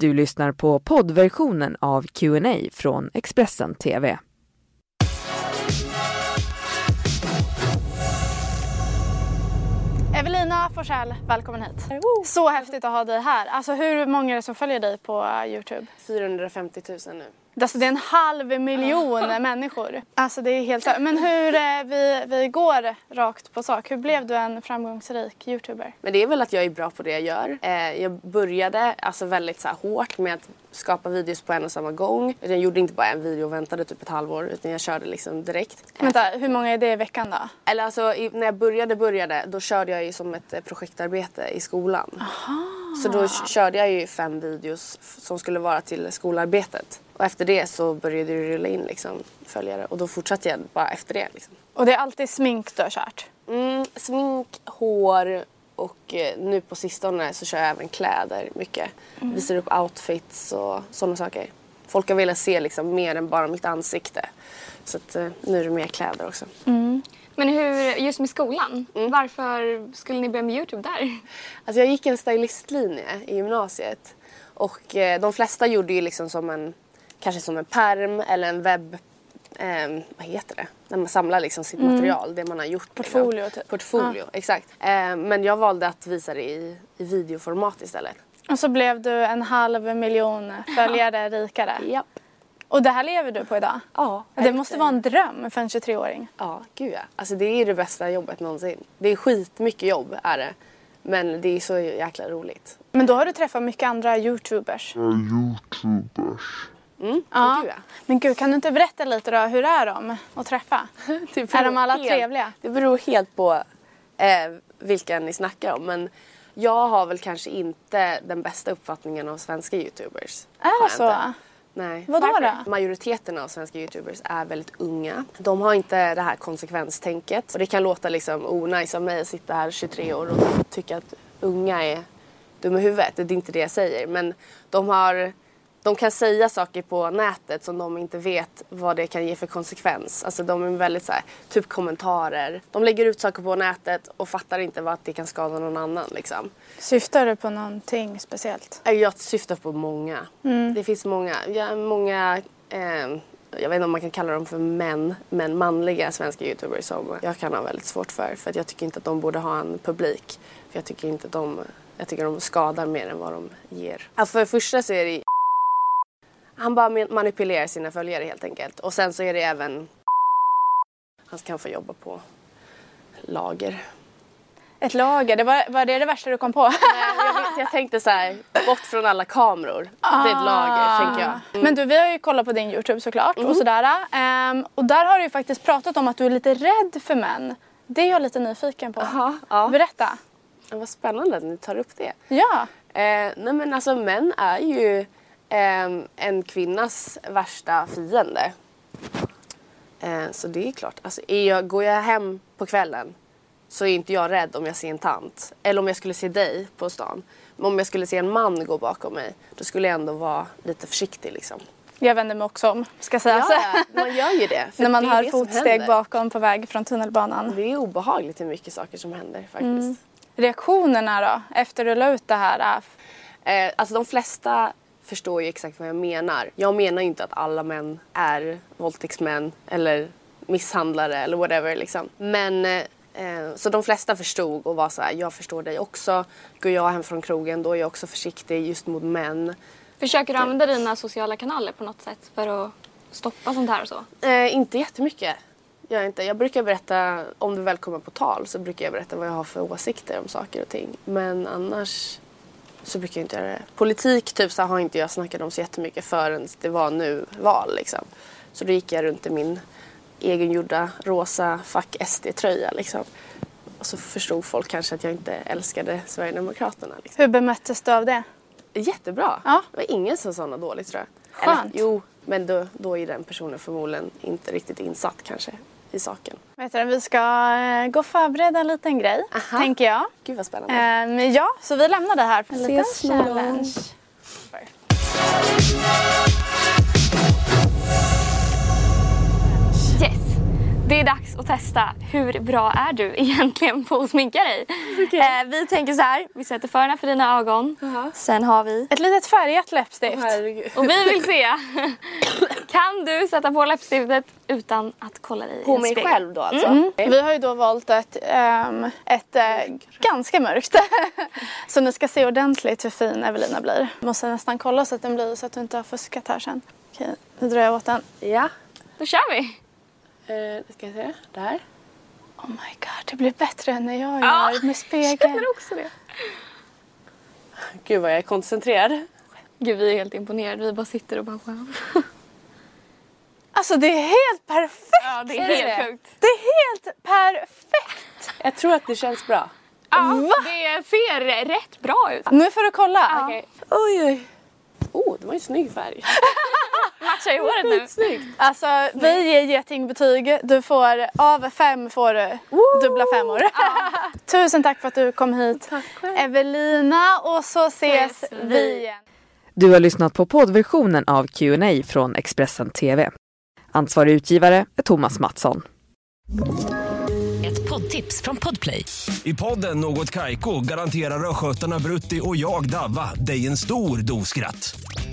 Du lyssnar på poddversionen av Q&A från Expressen TV. Evelina Forsell, välkommen hit. Så häftigt att ha dig här. Alltså, hur många är det som följer dig på Youtube? 450 000 nu. Alltså, det är en halv miljon människor. Alltså, det är helt så- Men hur, eh, vi, vi går rakt på sak. Hur blev du en framgångsrik youtuber? Men det är väl att jag är bra på det jag gör. Eh, jag började alltså väldigt så här, hårt med att skapa videos på en och samma gång. Jag gjorde inte bara en video och väntade typ ett halvår utan jag körde liksom direkt. Eh, Vänta, hur många är det i veckan då? Eller alltså i, när jag började började då körde jag ju som ett eh, projektarbete i skolan. Så då k- körde jag ju fem videos f- som skulle vara till skolarbetet. Och efter det så började det rulla in liksom följare och då fortsatte jag bara efter det liksom. Och det är alltid smink du har kört? Mm, smink, hår och eh, nu på sistone så kör jag även kläder mycket. Visar upp outfits och sådana saker. Folk har velat se liksom mer än bara mitt ansikte. Så att, eh, nu är det mer kläder också. Men hur, just med skolan, varför skulle ni börja med Youtube där? Alltså jag gick en stylistlinje i gymnasiet och eh, de flesta gjorde ju liksom som en, kanske som en perm eller en webb, ehm, vad heter det, när man samlar liksom sitt material, det man har gjort. Mm. Portfolio, liksom. typ. Portfolio, exakt. Eh, men jag valde att visa det i, i videoformat istället. Och så blev du en halv miljon följare rikare. Ja. Och det här lever du på idag? Ja, Det måste vara en dröm för en 23-åring. typ- Ja, gud ja. Alltså det är det bästa jobbet någonsin. Det är skitmycket jobb är det. Men det är så jäkla roligt. Men då har du träffat mycket andra youtubers. Mm, Ja. gud Men gud, kan du inte berätta lite då? Hur är de att träffa? Det Är beror de alla Typ helt- trevliga? Det beror helt på eh, vilka ni snackar om. Men jag har väl kanske inte den bästa uppfattningen av svenska youtubers. Har Är det jag så? inte. Nej. Vadå Varför? då? Majoriteten av svenska youtubers är väldigt unga. De har inte det här konsekvenstänket. Och det kan låta liksom onajs av mig att sitta här 23 år och tycka att unga är dumma i huvudet. Det är inte det jag säger. Men de har de kan säga saker på nätet som de inte vet vad det kan ge för konsekvens. Alltså de är väldigt så här, typ kommentarer. De lägger ut saker på nätet och fattar inte vad det kan skada någon annan liksom. Syftar du på någonting speciellt? Eh, Jag syftar på många. Det finns många, ja, många eh, jag vet inte om man kan kalla dem för män, men manliga svenska youtubers som jag kan ha väldigt svårt för. För att jag tycker inte att de borde ha en publik. För jag tycker inte att de, jag tycker de skadar mer än vad de ger. Ja, för det första så är det han bara man- manipulerar sina följare helt enkelt. Och sen så är det även han kan få jobba på lager. Ett lager, det var, var det det värsta du kom på? Jag, vet- jag tänkte så här, bort från alla kameror. Det är ett lager, tänker jag. Men du, vi har ju kollat på din Youtube såklart Mm. och sådär. Ehm, och där har du ju faktiskt pratat om att du är lite rädd för män. Det är jag lite nyfiken på. Aha, ja. Berätta. Ja, Vad spännande att ni tar upp det. Ja. Eh, nej men alltså män är ju ehm, en kvinnas värsta fiende. Eh, så det är klart. Alltså, är jag, går jag hem på kvällen så är inte jag rädd om jag ser en tant. Eller om jag skulle se dig på stan. Men om jag skulle se en man gå bakom mig då skulle jag ändå vara lite försiktig liksom. Jag vänder mig också om, ska sägas. Ja, man gör ju det. för När man det är hör det som fotsteg händer. bakom på väg från tunnelbanan. Det är obehagligt hur mycket saker som händer faktiskt. Mm. Reaktionerna då, efter du la ut det här? äh, är- Eh, alltså de flesta förstår ju exakt vad jag menar. Jag menar ju inte att alla män är våldtäktsmän eller misshandlare eller whatever liksom. Men eh, eh, så de flesta förstod och var så här, jag förstår dig också. Går jag hem från krogen då är jag också försiktig just mot män. Försöker du använda dina sociala kanaler på något sätt för att stoppa sånt här och så? Eh, inte jättemycket. Jag, inte. jag brukar berätta, om det väl kommer på tal, så brukar jag berätta vad jag har för åsikter om saker och ting. Men annars så brukar jag inte göra det. Politik typ så har inte jag snackat om så jättemycket förrän det var nu val liksom. Så då gick jag runt i min egengjorda rosa fuck SD-tröja liksom. Och så förstod folk kanske att jag inte älskade Sverigedemokraterna. Liksom. Hur bemöttes du av det? Jättebra. Ja. Det var ingen som sa något dåligt tror jag. Skönt. jo, men då, då är den personen förmodligen inte riktigt insatt kanske i saken. Vet du, vi ska eh, gå och förbereda en liten grej, tänker jag. Gud vad spännande. Ehm, ja, så vi lämnar det här för en liten Ses någon gång. challenge. Yes! Det är dags att testa hur bra är du egentligen på att sminka dig. Eh, vi tänker så här, vi sätter för den här för dina ögon. Sen har vi... Ett litet färgat läppstift. Herregud. Och vi vill se, kan du sätta på läppstiftet utan att kolla dig i På en mig spegel? själv då alltså? Vi har ju då valt ett, ehm, ett eh, ganska mörkt. så ni ska se ordentligt hur fin Evelina blir. Måste nästan kolla så att den blir så att du inte har fuskat här sen. Okej, nu drar jag åt den. Oh Ja. Då kör vi! Eh, ska jag se. Där. Oh my god, det blir bättre än när jag Ja, gör med Jag spegeln. känner också det. Gud vad jag är koncentrerad. Gud, vi är helt imponerade. Vi bara sitter och bara wow. Alltså det är helt perfekt! Ja, det Är är det? helt sjukt. Det är helt perfekt! Jag tror att det känns bra. Ja, det ser rätt bra ut. Nu får du kolla. Ja. Okej. Oj, oj. Oh, det var ju snygg färg. Matchar ju håret nu. Snyggt. Alltså vi ger getingbetyg. Du får, av fem får du dubbla femmor. Tusen tack för att du kom hit Evelina och så ses Ses vi. vi igen. Du har lyssnat på poddversionen av Q&A från Expressen TV. Ansvarig utgivare är Thomas Mattsson. Ett poddtips från Podplay. I podden Något Kaiko garanterar östgötarna Brutti och jag, Davva, dig en stor dos skratt.